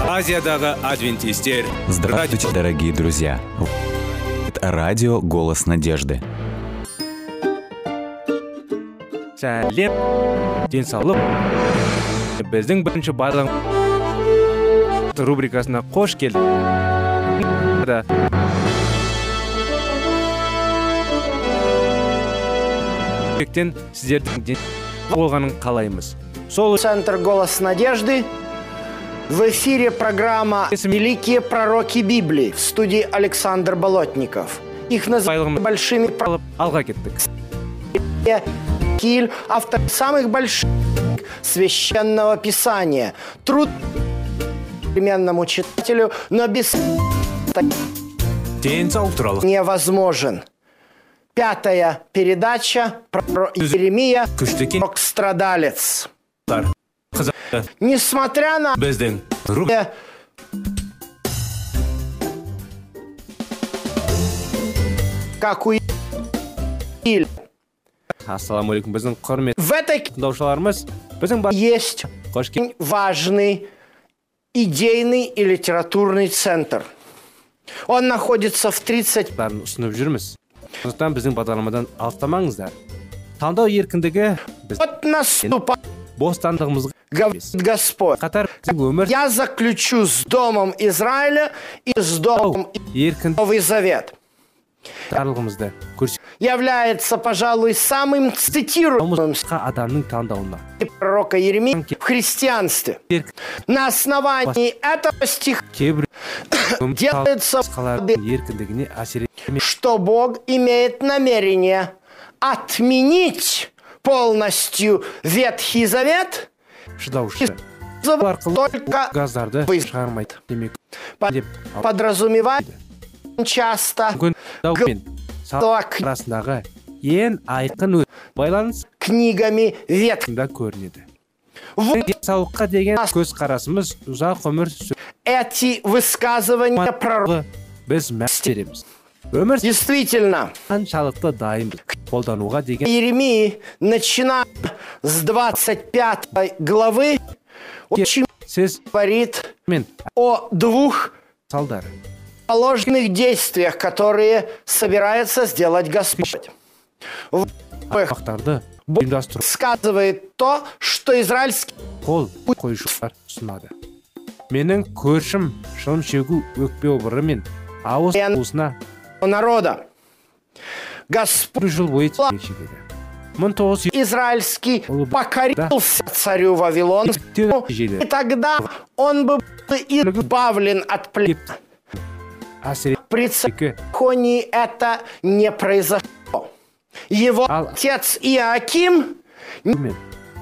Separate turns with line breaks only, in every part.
азиядагы адвентисттер
Здравствуйте, дорогие друзья! Это радио «Голос надежды».
сәлем ден соолук биздин биринчи байлам рубрикасына кош келдиңда тен сиздердин ден соолук болганын каалайбыз сол
Центр «Голос надежды». В эфире программа «Великие пророки Библии» в студии Александр Болотников. Их называют
Байлығым-
большими
алып алга кеттик
пророками Киль, автор самых больших книг священного писания. Труд современному читателю, но без
ден соолук тууралуу
невозможен. Пятая передача про Еремия
күчтүү
«Пророк страдалец».
кинолар кызык
Несмотря на
биздин рубрика
Э, Как у Иль.
ассаламу алейкум биздин корметті
В этой книге
тыңдаушыларыбыз биздин ба-
есть
кош кел-
очень важный идейный и литературный центр. Он находится в 30...
барын ұсынып жүрміз сондықтан біздің бағдарламадан алыстамаңыздар таңдау еркіндігі біз
Вот наступает
бостандығымызға
гов- Господь.
қатар біздің өмір
Я заключу с домом Израиля и с домом
еркін
Новый Завет.
тарлығымызды көрсетуіміз
Является, пожалуй, самым цитируемым
адамның таңдауына
пророка Еремии в христианстве.
Ерк-
На основании этого стиха,
кейбір
Делается
басқалардың еркіндігіне әсер етмей
что Бог имеет намерение отменить полностью Ветхий Завет,
шыдаушы
зав-
арқылы
только
газдарды
Вы-
шығармайды демек
по-
деп ал-
подразумевает часто
мүмкін дау
г-
мен сала
дала кни-
арасындағы ең айқын ө- байланыс
книгами Ветхого.
да көрінеді
Вот
денсаулыққа деген көзқарасымыз ұзақ өмір сүр
эти высказывания пророка.
арқылы біз мәс береміз өмір
Действительно,
қаншалықты дайынбыз қолдануға деген
Еремии, начиная с 25 главы, очень
сіз
говорит
мен
о двух
салдары
положенных действиях, которые собирается сделать Господь. Во-первых,
бақтарды ұйымдастыру
сказывает то, что израильский
қол қойшылар ұсынады менің көршім шылым шегу өкпе обыры мен ауыз
Мен-
уысына
народа. Господь
бір жыл бойы темекі шегеді мың тоғыз жүз
израильский
Улыб-
покорился царю Вавилону,
Иктен жили.
и тогда он бы был избавлен от плена.
әсер
При
Ике.
Цехонии это не произошло. Его
Ал-
отец Иоаким,
етумен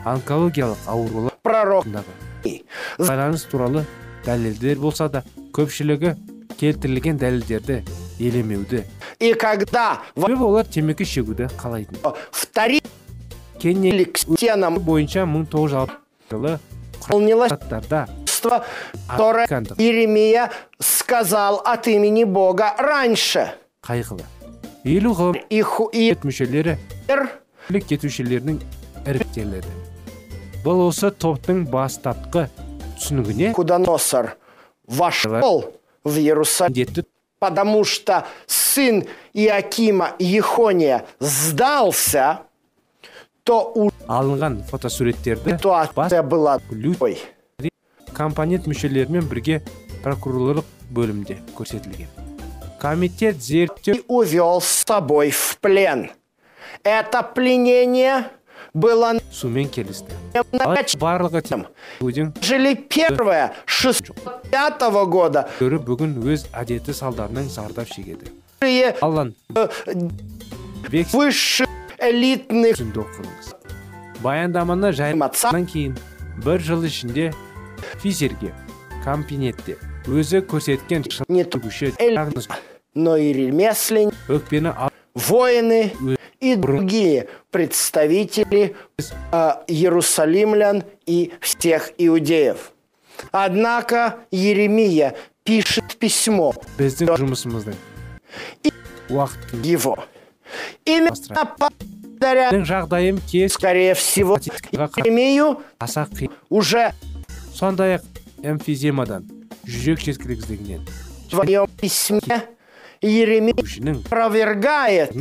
онкологиялық аурулардағы
пророк,
байланыс туралы дәлелдер болса да көпшілігі келтірілген дәлелдерді елемеуді
и когда во-
себебі олар темекі шегуді қалайтын
вторили
кеннелік
к стенам
бойынша 1960 жылы
полнилось
штаттарда
чувство, которое
Аккантов.
Иеремия сказал от имени Бога раньше.
қайғылы елу ғылым
И, ху- и
үкімет мүшелері
Ир-
билік кетушілердің іріктеледі бұл осы топтың бастапқы түсінігіне
Кудоносор вошел в Иерусалим,
міндетті
потому что сын Иакима Ехония сдался, то у
алынған фотосуреттерді бас
ситуация была
лю-
такой.
компонент мүшелерімен бірге прокурорлық бөлімде көрсетілген комитет зерттеу
И увел с собой в плен. Это пленение было
сумен келісті Алайда
начали
барлығы тем- өзің
первое 65 года.
көрі бүгін өз әдеті салдарынан зардап шегеді
Высшие-
аллан бек
высших элитных
үзінді оқыңыз баяндаманы жайматсаннан кейін бір жыл ішінде физерге компинетте өзі көрсеткен
Не ту-
шынтүгіші
эль- но и ремесленники,
өкпені ал-
воины
Вы-
и другие представители э, Иерусалимлян и всех иудеев. Однако Еремия пишет письмо
біздің жұмысымыздың уақытының
его. Именно благодаря,
жағдайым кез
скорее всего,
Статистикаға қар-
Еремию
аса қиын
уже
сондай ақ эмфиземадан жүрек жеткіліксіздігінен
В твоем письме Еремей
күшінің
опровергает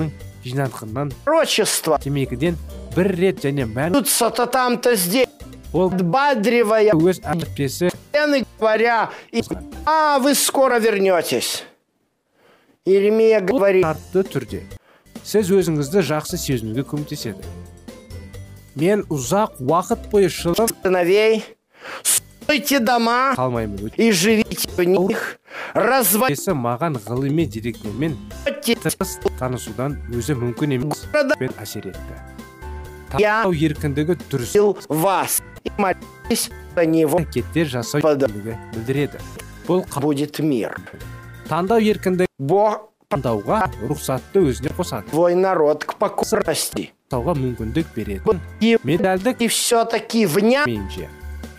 жинатқаннан
пророчество.
темекіден бір рет және мән
Тут-то там-то здесь,
ол
подбадривая
өз әріптесі
и говоря, и- а вы скоро вернетесь. Еремия говорит,
атты түрде сіз өзіңізді жақсы сезінуге көмектеседі мен ұзақ уақыт бойы шылым
сыновей, стройте дома
қалмаймын Өткен
и живите в них, разводите
кесі маған ғылыми деректермен тығыз танысудан өзі мүмкін емес пен әсер етті таңдау еркіндігі дұрыс
вас и молитесь за него
әрекеттер жасау
Бада.
еркіндігі білдіреді бұл қаб-
будет мир.
таңдау еркіндігі
Бог
таңдауға рұқсатты өзіне қосады
твой народ к покорности.
тауға мүмкіндік беретін
И,
медальдік
и все-таки вня
менше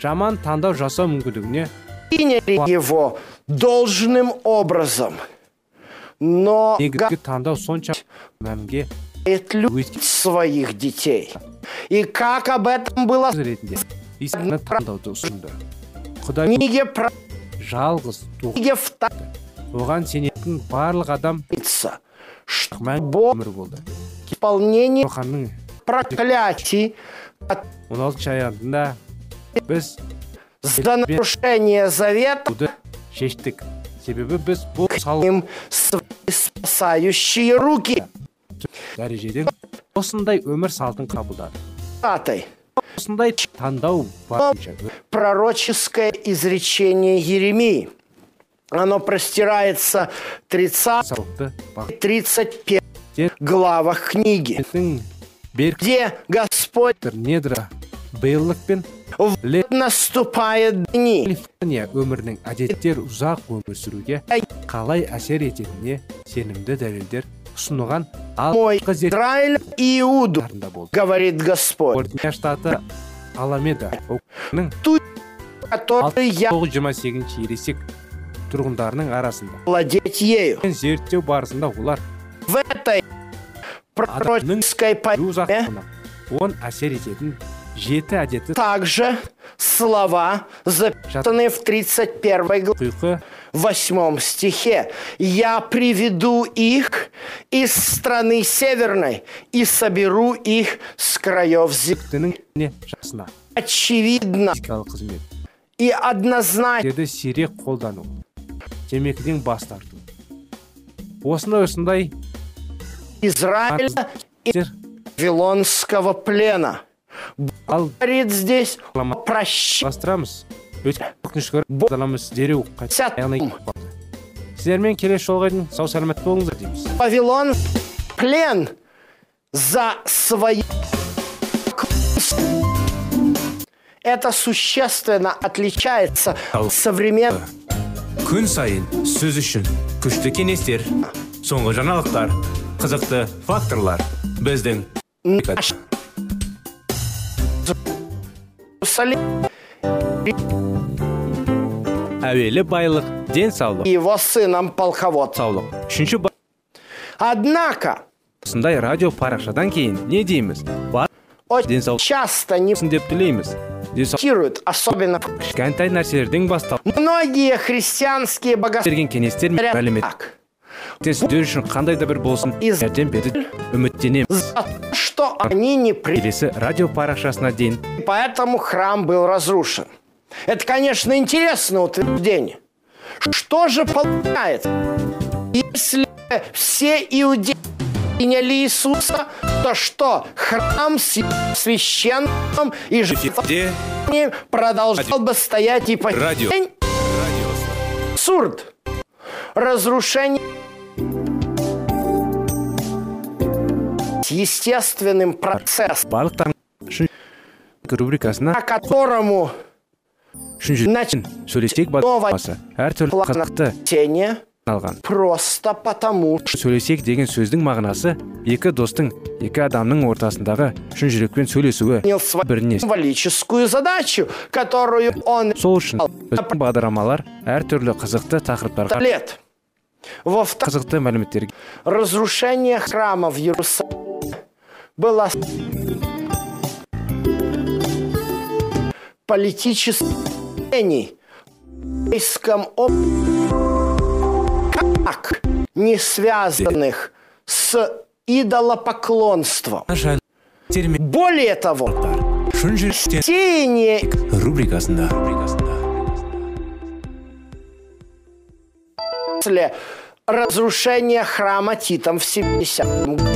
жаман таңдау жасау мүмкіндігіне
приняли его должным образом. Но
негізгі таңдау сонша мәнге
гает любить своих детей. И как об этом было в
ретінде исаны таңдауды ұсынды құдай
книге про
жалғыз туған
книге вторится,
оған сенетін барлық адам
что
мәңгі
Бог-
өмір болды
исполнение
Йоханның
проклятий
он алтыншы аятында біз
за нарушение завета
туды шештік себебі біз бұл сал
им свои спасающие руки
дәрежеден осындай өмір салтын қабылдады
Атай.
осындай таңдау барынша
пророческое изречение Еремии. Оно простирается 30
салтты
31 главах книги,
бақыттың берік
где Господь
недра бейлық пен ле-
наступает дни,
Калифорния өмірінің әдеттер ұзақ өмір сүруге қалай әсер ететініне сенімді дәлелдер ұсынылған
мой
алғы
Израиль и Иуду,
зерттеулерінде болды
говорит Господь,
калифорния штаты аламеда округінің
который я
1928 ересек тұрғындарының арасында
владеть ею.
зерттеу барысында олар
В этой пророческой
жүру
поэме
ұзақтығына он әсер ететін жеті әдеті
также слова, записанные в 31 главе.
құйқы
в восьмом стихе. «Я приведу их из страны северной и соберу их с краев земли».
тінің не жасына
Очевидно
физикалық қызмет
и однозначно
деді сирек қолдану темекіден бас тарту осындай осындай
Израиля и
тер-
Вавилонского плена.
ал
Говорит здесь о
Лама-
прощении.
бастырамыз өте өкінішке орай бағдарламамыз дереу қайт-
Сәт.
аяғына келіп қалды. сіздермен келесі жолға дейін сау сәлемет болыңыздар дейміз
Вавилон плен за свои... Это существенно отличается от современного
күн сайын сөз үшін күшті кеңестер соңғы жаңалықтар қызықты факторлар біздің
Иерусалима
әуелі байлық
и
денсаулық
его сыном полководцем.
саулық үшінші ба-
Однако,
осындай радио парақшадан кейін не дейміз бар
очень
денсаулық
часто не
болсын деп тілейміз денсаулық
цитируют, особенно
кішкентай нәрселерден бастап
многие христианские богословы
берген кеңестер мен
говорят
мәліметтер
так.
сіздер үшін қандай да бір болсын
Из-
жәрдем берді үміттенеміз
За то, что они не приняли,
келесі радио парақшасына дейін
поэтому храм был разрушен. Это, конечно, интересное утверждение. Что же получается, если все иудеи приняли Иисуса, то что храм с его священным и
эфирде
жизнью продолжал бы стоять и по сей
Радио.
день? Абсурд. Разрушение с естественным процессом,
барлық таң рубрикасына
о которому
үшінші
начали
сөйлесек бағдарламасы әртүрлі қызықты
тени
алған
просто потому, что
сөйлесек деген сөздің мағынасы екі достың екі адамның ортасындағы шын жүрекпен сөйлесуі
понял свою
біріне
символическую задачу, которую он
сол үшін біздің бағдарламалар әртүрлі қызықты тақырыптарға
лет. Во-вторых,
қызықты мәліметтерге
разрушение храма в Иерусалиме было с- политических деяний, иудейском об... как не связанных с идолопоклонством.
Наша термин
Более того,
шын жүрістен
чтение
рубрикасында
после разрушения храма Титом в 70 году.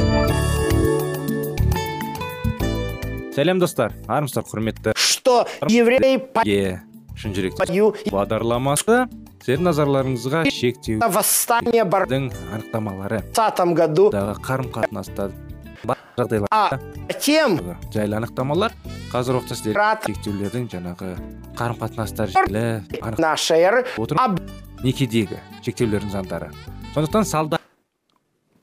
сәлем достар армысыздар құрметті
что евреи по-
е шын жүректен
пою и
бағдарламасы сіздердің назарларыңызға шектеудің
восстание бар
анықтамалары
в 20 году,
дағы қарым қатынаста жағдайлар
а тем
жайлы анықтамалар қазір уақытта сіздер
Рад.
шектеулердің жаңағы қарым қатынастар жайлы анық-
нашей эры
отырып
об
некедегі шектеулердің заңдары сондықтан салда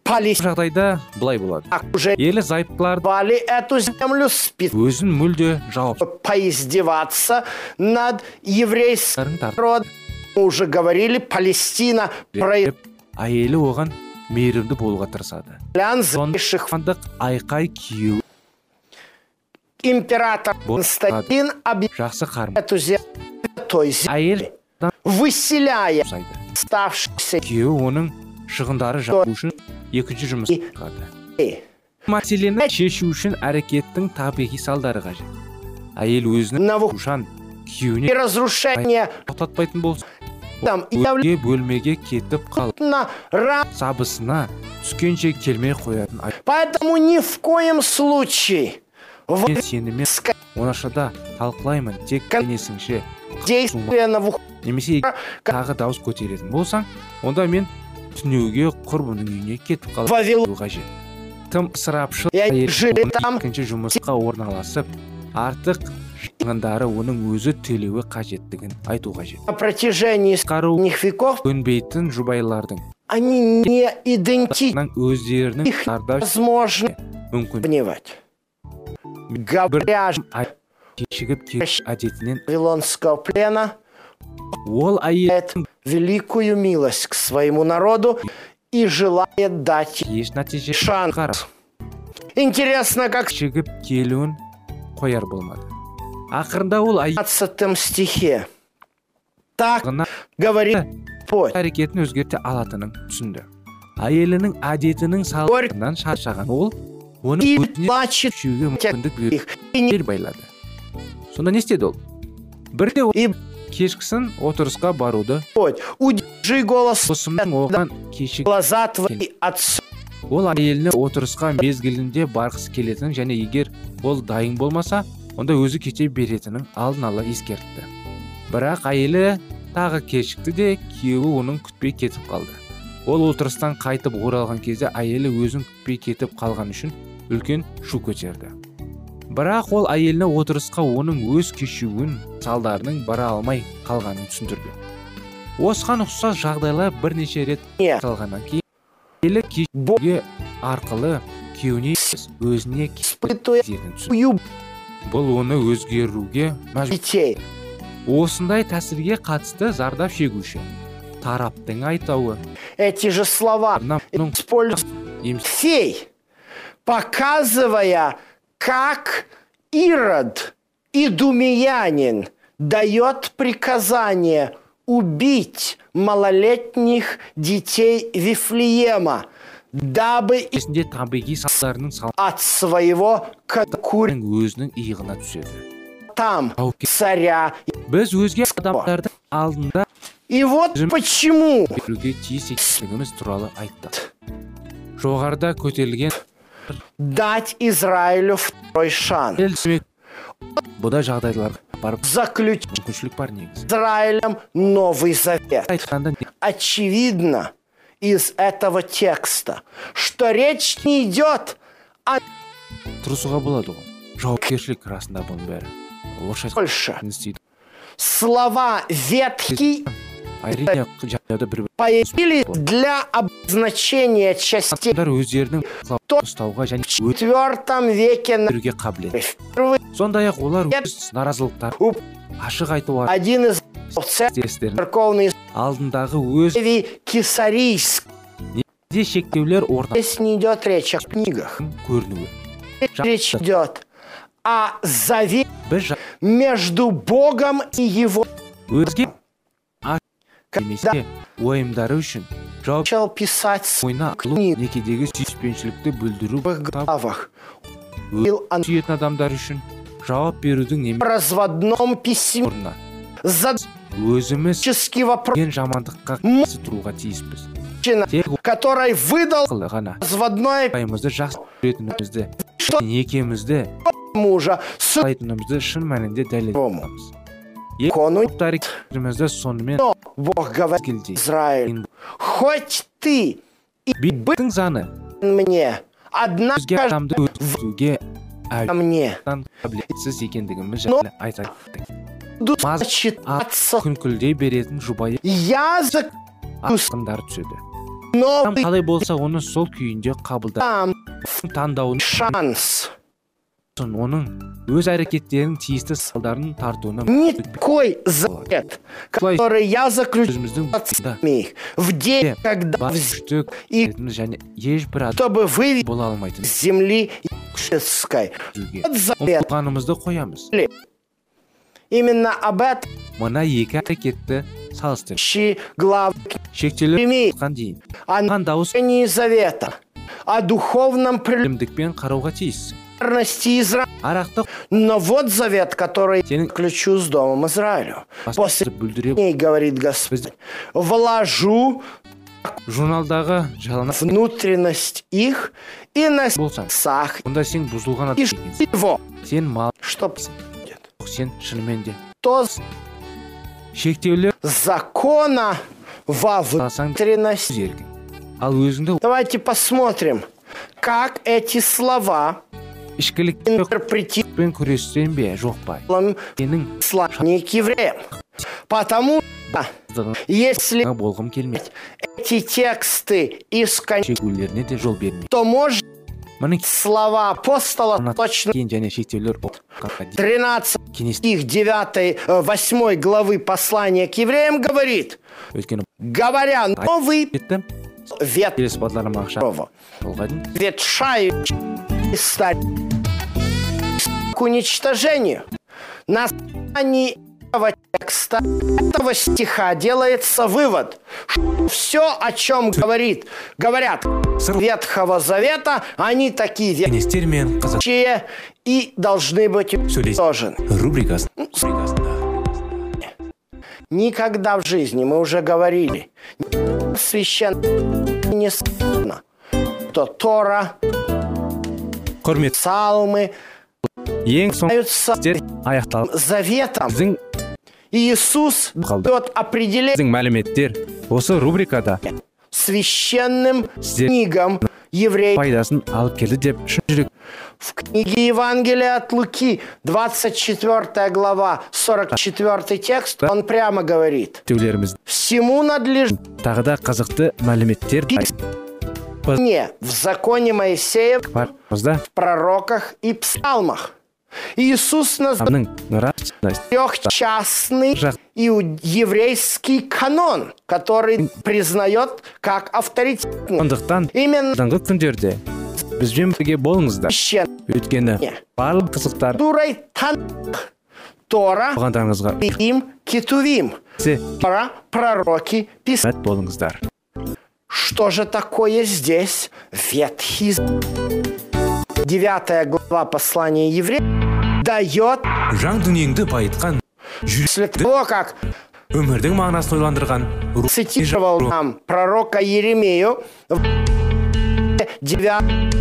палестинах
жағдайда былай болады
уже
ерлі зайыптылар
бали эту землю спит
өзін мүлде жауап
поиздеваться над еврейским народом. Мы уже говорили, Палестина
әйелі оған мейірімді болуға тырысады
проявляющих
хандық айқай кию
император
Вот.
Константин объявил
жақсы қарым
эту землю той землей,
әйел
выселяя
жұмсайды
оставшихся
күйеуі оның шығындары жабу үшін екінші жұмыс
И-
атқарды
евреев.
мәселені шешу үшін әрекеттің табиғи салдары қажет әйел өзінің
на ву-
ушан
и
күйеуіне
разрушение
тоқтатпайтын болса
там
өзге бөлмеге кетіп қалып
явлено ра-
сабысына түскенше келмей қоятын ай-
Поэтому ни в коем случае в
мен сенімен оңашада талқылаймын тек
Кон-
кеңесіңше
действие на ву-
немесе егер тағы дауыс көтеретін болсаң онда мен түнеуге құрбының үйіне кетіп қалып
Вавилон.
кету қажет тым ысырапшыл
Я
әйел
жили
оның
там.
екінші жұмысқа орналасып артық шығындары оның өзі төлеуі қажеттігін айту қажет
на протяжении
Кару
средних веков
көнбейтін жұбайлардың
они не идентичны.
өздерінің
Их
зардап
Возможно
мүмкін
сравнивать. Говоря же
ай- кешігіп кету әдетінен
Вавилонского плена,
ол әйелдің
великую милость к своему народу и желает дать ей
еш нәтиже
шанс. Интересно, как в
кешігіп келуін қояр болмады ақырында ол
15 стихе. Так
аяғына
говорит Господь.
әрекетін өзгерте алатынын түсінді әйелінің әдетінің салдарынан шаршаған ол оны
И
өзіне
плачет
күшеуге мүмкіндік
их.
беріп
И не-
бел байлады сонда не істеді ол бірде ол
И
кешкісін отырысқа баруды
Господь, удержи голос
досымның оған кешік
глаза твои отцу.
ол әйеліне отырысқа мезгілінде барғысы келетінін және егер ол дайын болмаса онда өзі кете беретінін алдын ала ескертті бірақ әйелі тағы кешікті де күйеуі оның күтпей кетіп қалды ол отырыстан қайтып оралған кезде әйелі өзін күтпей кетіп қалған үшін үлкен шу көтерді бірақ ол әйеліне отырысқа оның өз кешігуін салдарының бара алмай қалғанын түсіндірді осыған ұқсас жағдайлар бірнеше рет
Не.
қалғаннан кейін әйелі кешуге арқылы күйеуіне емес, өзіне
Испытуя
кететінін түсінді.
Ю,
бұл оны өзгеруге мәжбүр
детей.
осындай тәсілге қатысты зардап шегуші тараптың айтауы
Эти же слова
арнаның
используют всей, показывая, как Ирод, идумиянин, дает приказание убить малолетних детей Вифлеема, дабы и
есінде табиғи салдарының салдарының
от своего конкурента
өзінің иығына түседі
там
Тауке-
царя.
біз өзге адамдардың алдында
И вот
Жим-
почему
беруге тиіс екендігіміз туралы айттық жоғарыда көтерілген
дать Израилю второй шанс.
ел демек бұдай жағдайларға барып
Заключить
мүмкіншілік бар негізі
с Израилем новый завет.
айтқанда не-
очевидно из этого текста, что речь не идет
тұрысуға болады ғой жауапкершілік расында бұның бәрі орысша айтқанда
больше.
істейді
Слова ветхий
әрине жанұяда бір
появились для обозначения частей
адамдар өздерінің құлап ұстауға және
в IV веке на-
өтіруге қабілет
впервые
сондай ақ олар өз наразылықтарын ашық айту
один из отцов
процестерін
церковной
алдындағы өз
церкви Кесарийск.
де шектеулер орнатып
Здесь не идет речь о книгах.
көрінуі
Речь идет о завете
біз жа-
между Богом и Его
өзге аш- немесе уайымдары үшін жауап
начал писать в
ойна қылу некедегі сүйіспеншілікті білдіру
своих
тап-
главах
ө- сүйетін адамдар үшін жауап берудің
в
немес
разводном письме
орнына
задаческий
өзіміз
вопрос,
деген жамандыққа
М-
қарсы тұруға тиіспіз тек
мужчина, который выдал
арқылы ғана
разводное
пайымызды жақсы көретінімізді
Что?
некемізді
мужа с
қалайтынымызды шын мәнінде
Рома.
дәлелдейміз
кону.
тарихымызды сонымен
Но Бог говорит
мезгілде
Израиль, хоть ты
биттің заны
мне,
бізге
однажды
адамды өткізуге
ко мне
әуелден қабілетсіз екендігіміз жайлы айта кеттік
будут
Маз-
считаться,
күңкілдей беретін жұбайы
я за
а асқындар түседі
но
адам қалай болса оны сол күйінде қабылда
дам
таңдауын
шанс.
оның өз әрекеттерінің тиісті салдарын тартуына
Не такой запрет, который я заключил
өзіміздің
с
да
ними в день,
Е,
когда
бар
взял,
күштік
и
ретіміз және ешбір адам
чтобы вывести
бола алмайтын
с земли египетской.
жүзге
Вот запрет.
ұмтылғанымызды қоямыз
Именно об этом
мына екі әрекетті салыстырып
ищи главы
шектеулі
Прими.
тұтқан дейін
о
қан дауыс
нарушении завета, о духовном
білімдікпен қарауға тиіссің
прелюбности Израиля.
арақты
Но вот завет, который я
Тень-
заключу с Домом Израилю.
басып
После
бүлдіре
ней, говорит Господь, вложу
журналдағы жаланақ
внутренность их и на
болсаң
сердцах
онда сен бұзылған адам
и
екенсің
его,
сен мал
чтоб
жоқ, сен шынымен де
то с-
шектеулі
закона во
Алсаң
внутренность.
өз еркің ал өзіңді
Давайте посмотрим, как эти слова
ішкілікпен
интерпретируем
күрессең бе жоқ па сенің
славник евреям. Потому что
аздығыңа
если
болғым келмейді
эти тексты искать,
шегулеріне де жол бермей
то может
міне
слова апостола точно
кейін және шектеулер оққанға дейін
13
кеңес
стих 9, э, 8 главы послания к евреям говорит,
өйткені
говоря новый
кетті
вет
келесі бағдарлама ақша
нового,
болға дейін
ветшающий и старый к уничтожению. На основании этого текста, этого стиха делается вывод, что все, о чем говорит, говорят Ветхого Завета, они такие
Кеңестер мен қазақ
вещие и должны быть уничтожены.
рубрикасы рубрикасында
Никогда в жизни, мы уже говорили, ни священно не сказано, что Тора,
құрметті
Псалмы
ең соңғы
являются
істер аяқталып
заветом.
біздің
И Иисус
Қалды.
дает определение
біздің мәліметтер осы рубрикада
священным
Здесь.
книгам евреев.
пайдасын алып келді деп шын жүрек
В книге Евангелия от Луки, 24 глава, 44 текст, он прямо говорит,
тілеулеріміз
«Всему надлежит
тағы да қызықты мәліметтер
мне в законе Моисеев,
барымызда
пророках и псалмах». Иисус называет
адамның нравственность
трехчастный
Жах.
иу- еврейский канон, который признает как авторитетный.
сондықтан
Именно
алдағы күндерде бізбен бірге болыңыздар
священной
өйткені барлық қызықтар
дурой Танах, Тора,
оғандарыңызға
Пиим, Китувим, Тора, пророки, писания.
мәт болыңыздар
Что же такое здесь Ветхий Завет? Девятая глава послания евреям дает
жан дүниеңді байытқан
после
жүректі
того, как
өмірдің мағынасын ойландырған ру-
цитировал нам пророка Еремею в 9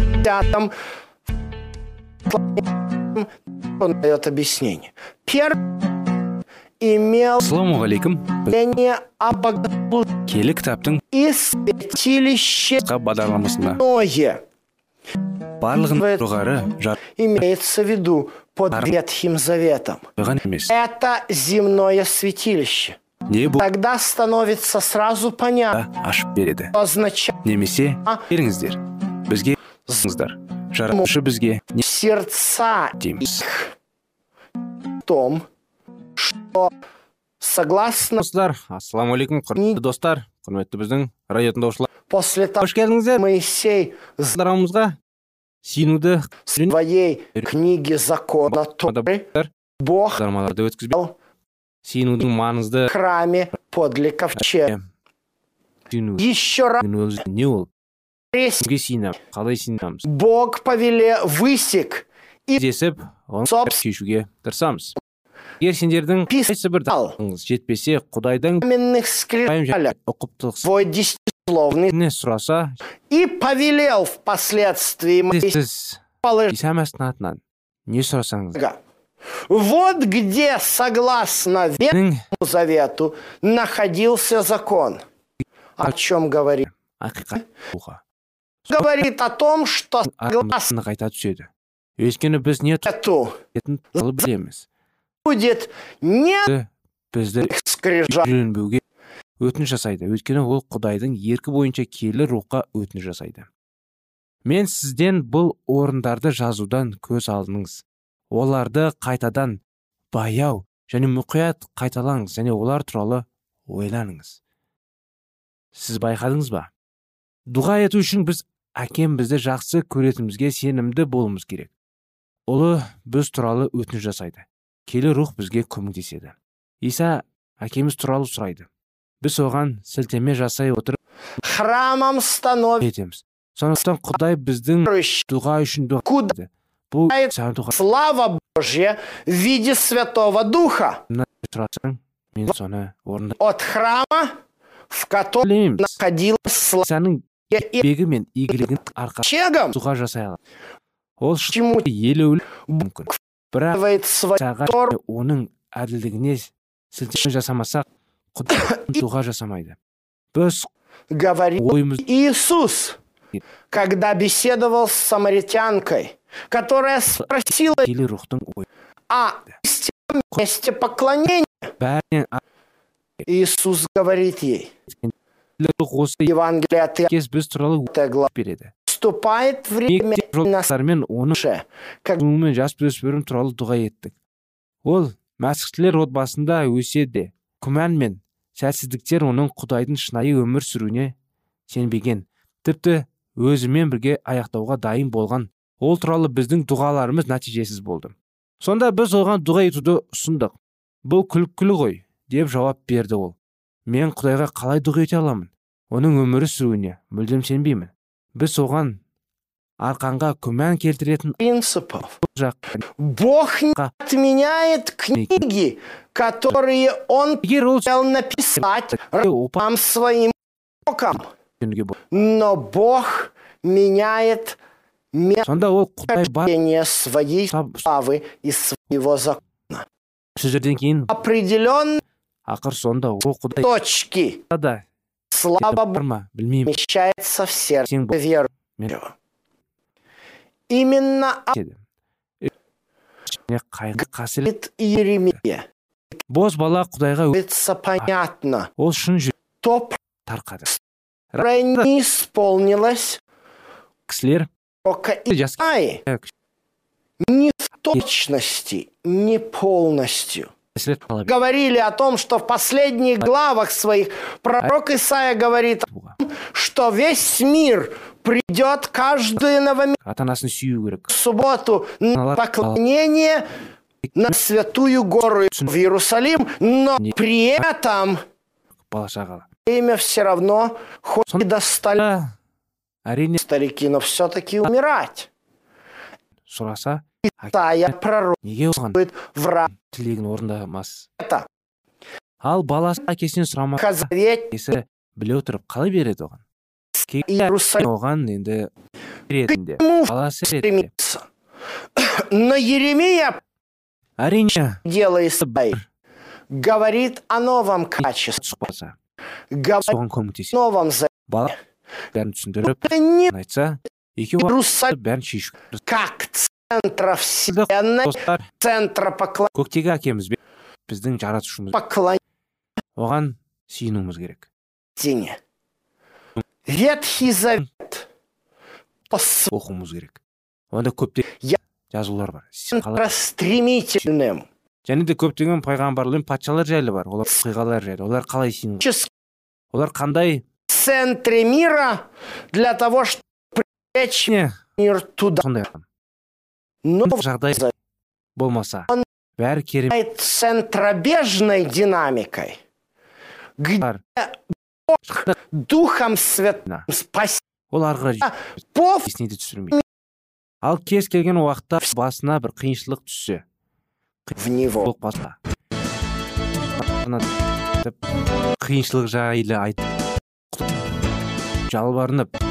он дает объяснение. Первый имел
ассаламу алейкум
мнение о богослужении
келі кітаптың
и святилище
қысқа бағдарламасында
иное.
барлығын жоғары жатпаған
Имеется в виду под Ветхим Заветом.
емес
Это земное святилище.
не бұл
Тогда становится сразу понятно,
ашып береді
что означает
немесе
А.
беріңіздер бізге зыңыздар жаратушы бізге не
сердца
дейміз
в том, что согласно
достар ассалаумағалейкум құрметті достар құрметті біздің радио тыңдаушылар
после того,
қош келдіңіздер
Моисей в
бағдарламамызға сенуді
своей книге закона Торы Бог
бағдарламаларды өткізбе
дал
сенудің маңызды
в храме подле ковчега.
сүйіну
Еще раз
өзі не ол
крестик
кімге сыйынамыз қалай сыйынамыз
Бог повеле высек
десіп оны
Сопс-
шешуге тырысамыз егер сендердің
Пис-
қайсыбір
ал.
дағыңыз жетпесе құдайдан
каменных
пайым және
скрижалях
ұқыптылық
твой десятисловный
не сұраса
и повелел впоследствии Моисею
сіз
положить
иса мәсіхтің атынан не сұрасаңыз
Бога. Вот где, согласно Ветхому
менің
Завету, находился закон. О чем говорит?
ақиқат болуға
Говорит о том, что
А,
согласно
армысыны қайта түседі өйткені біз не
Завету
тұратын алып білеміз
будет не
бізді
скрижал.
үйленбеуге өтініш жасайды өйткені ол құдайдың еркі бойынша киелі рухқа өтініш жасайды мен сізден бұл орындарды жазудан көз алдыңыз оларды қайтадан баяу және мұқият қайталаңыз және олар туралы ойланыңыз сіз байқадыңыз ба дұға ету үшін біз әкем бізді жақсы көретінімізге сенімді болуымыз керек ұлы біз туралы өтініш жасайды келі рух бізге көмектеседі иса әкеміз туралы сұрайды біз оған сілтеме жасай отырып
Храмом становится
етеміз сондықтан құдай біздің
верующий.
дұға үшін дұға
Куда
етеді. бұл
Ай-
саған дұға
слава Божья в виде Святого Духа
сұрасаң мен соны орында
от храма, в котором
білеміз
находилась слава
исаның
и
бегі мен игілігінің арқасында
чегом,
дұға жасай алады ол шын
чему
елеулі мүмкін бірақ
делает свою
саған
Тор-
оның әділдігіне сілтеме жасамасақ құдай дұға жасамайды біз
говорит
ойымыз
Иисус, когда беседовал с самаритянкой, которая спросила
киелі рухтың ойы
о истинном месте поклонения.
бәрінен
Иисус говорит ей,
әділдік рух осы
Евангелие от
кез біз туралы
Иоанна, глава,
өтіп береді
«Вступает время
мектеп жолдастарымен оны
наше, когда
жас жасөспірім туралы дұға еттік ол мәсіхтілер отбасында өседі күмән мен сәтсіздіктер оның құдайдың шынайы өмір сүруіне сенбеген тіпті өзімен бірге аяқтауға дайын болған ол туралы біздің дұғаларымыз нәтижесіз болды сонда біз оған дұға етуді ұсындық бұл күлкілі ғой деп жауап берді ол мен құдайға қалай дұға ете аламын оның өмірі сүруіне мүлдем сенбеймін біз оған арқанға күмән келтіретін
принципов.
жақ
Бог не отменяет книги, которые Он
егер ол
хотел написать
опа
вам своим рукам.
күніге бол-
Но Бог меняет
сонда ол құдай бар
местоположение своей
сап-
славы и своего закона.
сөздерден кейін
Определенные
ақыр сонда ол құдай
точки
да
слава
бар
Бога
ма білмеймін
вмещается в сердце
сен бол-
верующего. Именно об
деді және қайғы қасірет
говорит Иеремия.
бос бала құдайға ө-
Становится понятно,
ол шын жүрек
то
тарқады
которое не исполнилось
кісілер Ә,
рока
жас
Исаи не в точности, не полностью.
кісілер талап етті
Говорили о том, что в последних главах своих пророк Исаия говорит,
бұға.
что весь мир придет каждую новомесячную
ата анасын сүю керек
субботу на поклонение на святую гору в Иерусалим, но при этом
бала шағалы
время все равно хоть и достали
А, әрине
старики, но все-таки умирать.
сұраса
Тая пророчествует
неге оған
враг
тілегін орындамас
это.
ал баласы әкесінен сұрамаса
Казаветь
әкесі біле отырып қалай береді оған Кей-
Иерусалим
оған енді ретінде
Ему
баласы ретінде
стремится. Но Еремия,
әрине
дело Исаи, говорит о новом качестве,
сұқпаса
говорит
соған
о
көмектесе
новом завете.
бала бәрін түсіндіріп
Не
айтса екеуі
Иерусалим
бәрін шешу
как центра вселенной,
достар
центра поклонения.
көктегі әкеміз бе- біздің жаратушымыз оған сүйінуіміз керек
Тени. Ветхий Завет по своим
оқуымыз керек онда көптеген
Я-
жазулар бар Сен қалай-
стремительным
және де көптеген пайғамбарлар мен патшалар жайлы бар олар оқиғалар жайлы олар қалай сүйінген
чес-
олар қандай
в центре мира для того, чтобы привлечь
не
мир туда.
сондай адам.
Но
Мұндай жағдай болмаса бәрі керемет
бывает центробежной динамикой, где Бог Духом Святым спасибо
ол ары қарай
по
есіне де түсірмейді ал кез келген уақытта басына бір қиыншылық түссе
в него.
бұл басқа қиыншылық жайлы айтып жалбарынып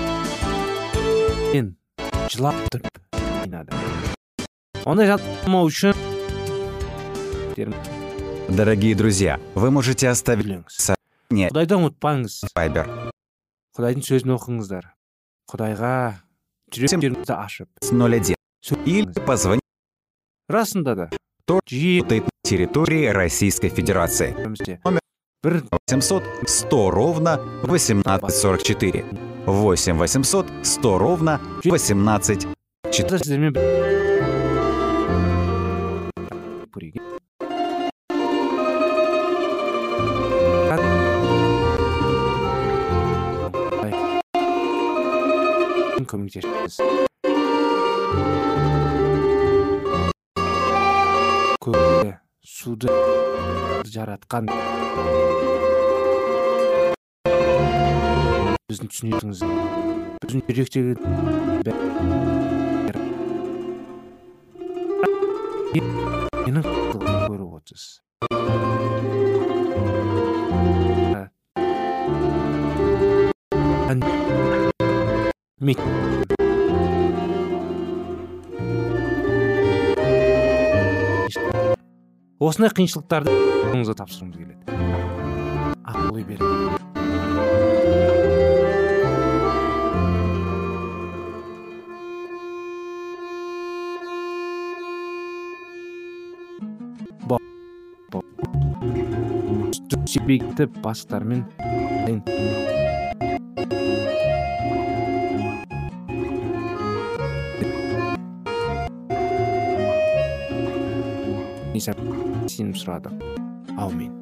мен жылап тұрып қинады ондай жалтармау үшін
Дорогие друзья, вы можете оставить
біліңіз құдайды ұмытпаңыз
Viber
құдайдың сөзін оқыңыздар құдайға жүректеріңізді ашып
01 или
сөйлеңіз.
позвонить
расында да
Тор-
жиі
на территории Российской Федерации.
өмірімізде
Номер-
бір
800 100 ровно 1844. 8 800 100 ровно 18
да сіздермен бір- көреге. Ай. көмектесіңіз көкті суды жаратқан біздің түсінетіңіз біздің жүректегі менің қылығымды көріп отырсыз Ә. Ән- Мек- осындай қиыншылықтарды қолыңызға тапсырғымыз келеді ақыл ой беріп бекітіп бастықтармен дайын. Несап сенім сұрады аумин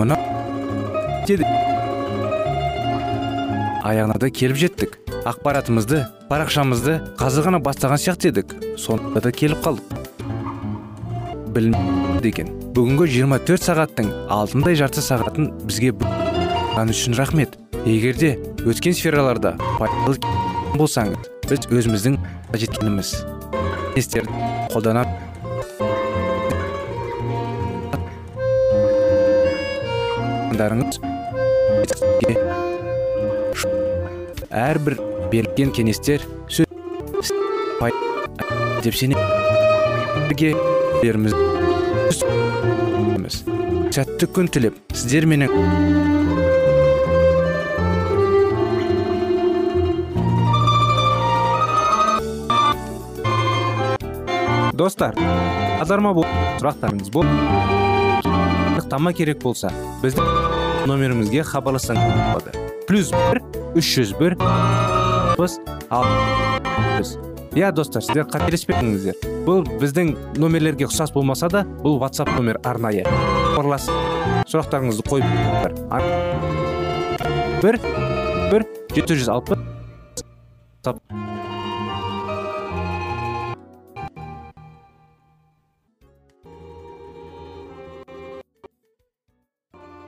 мына деді аяғына да келіп жеттік ақпаратымызды парақшамызды қазір ғана бастаған сияқты едік сонда да келіп қалдық білім деген бүгінгі 24 сағаттың алтындай жарты сағатын бізге бөлгені үшін рахмет егер де өткен сфераларда пайдалы болсаңыз біз өзіміздің жеткеніміз тестерді қолдана тыңдарыңыз әрбір берілген кеңестер сөз с- пай- деп сенемін бірге еліміз сәтті күн тілеп сіздер менің
достар аударма бол сұрақтарыңыз бол анықтама керек болса біздің номерімізге хабарлассаңыз болады плюс бір үш жүз бір біз ал біз. иә достар сіздер қателеспеңіздер бұл біздің номерлерге ұқсас болмаса да бұл WhatsApp номер арнайы хабарлас сұрақтарыңызды қойып тұрыңыздар. А- бір бір жеті жүз алпыс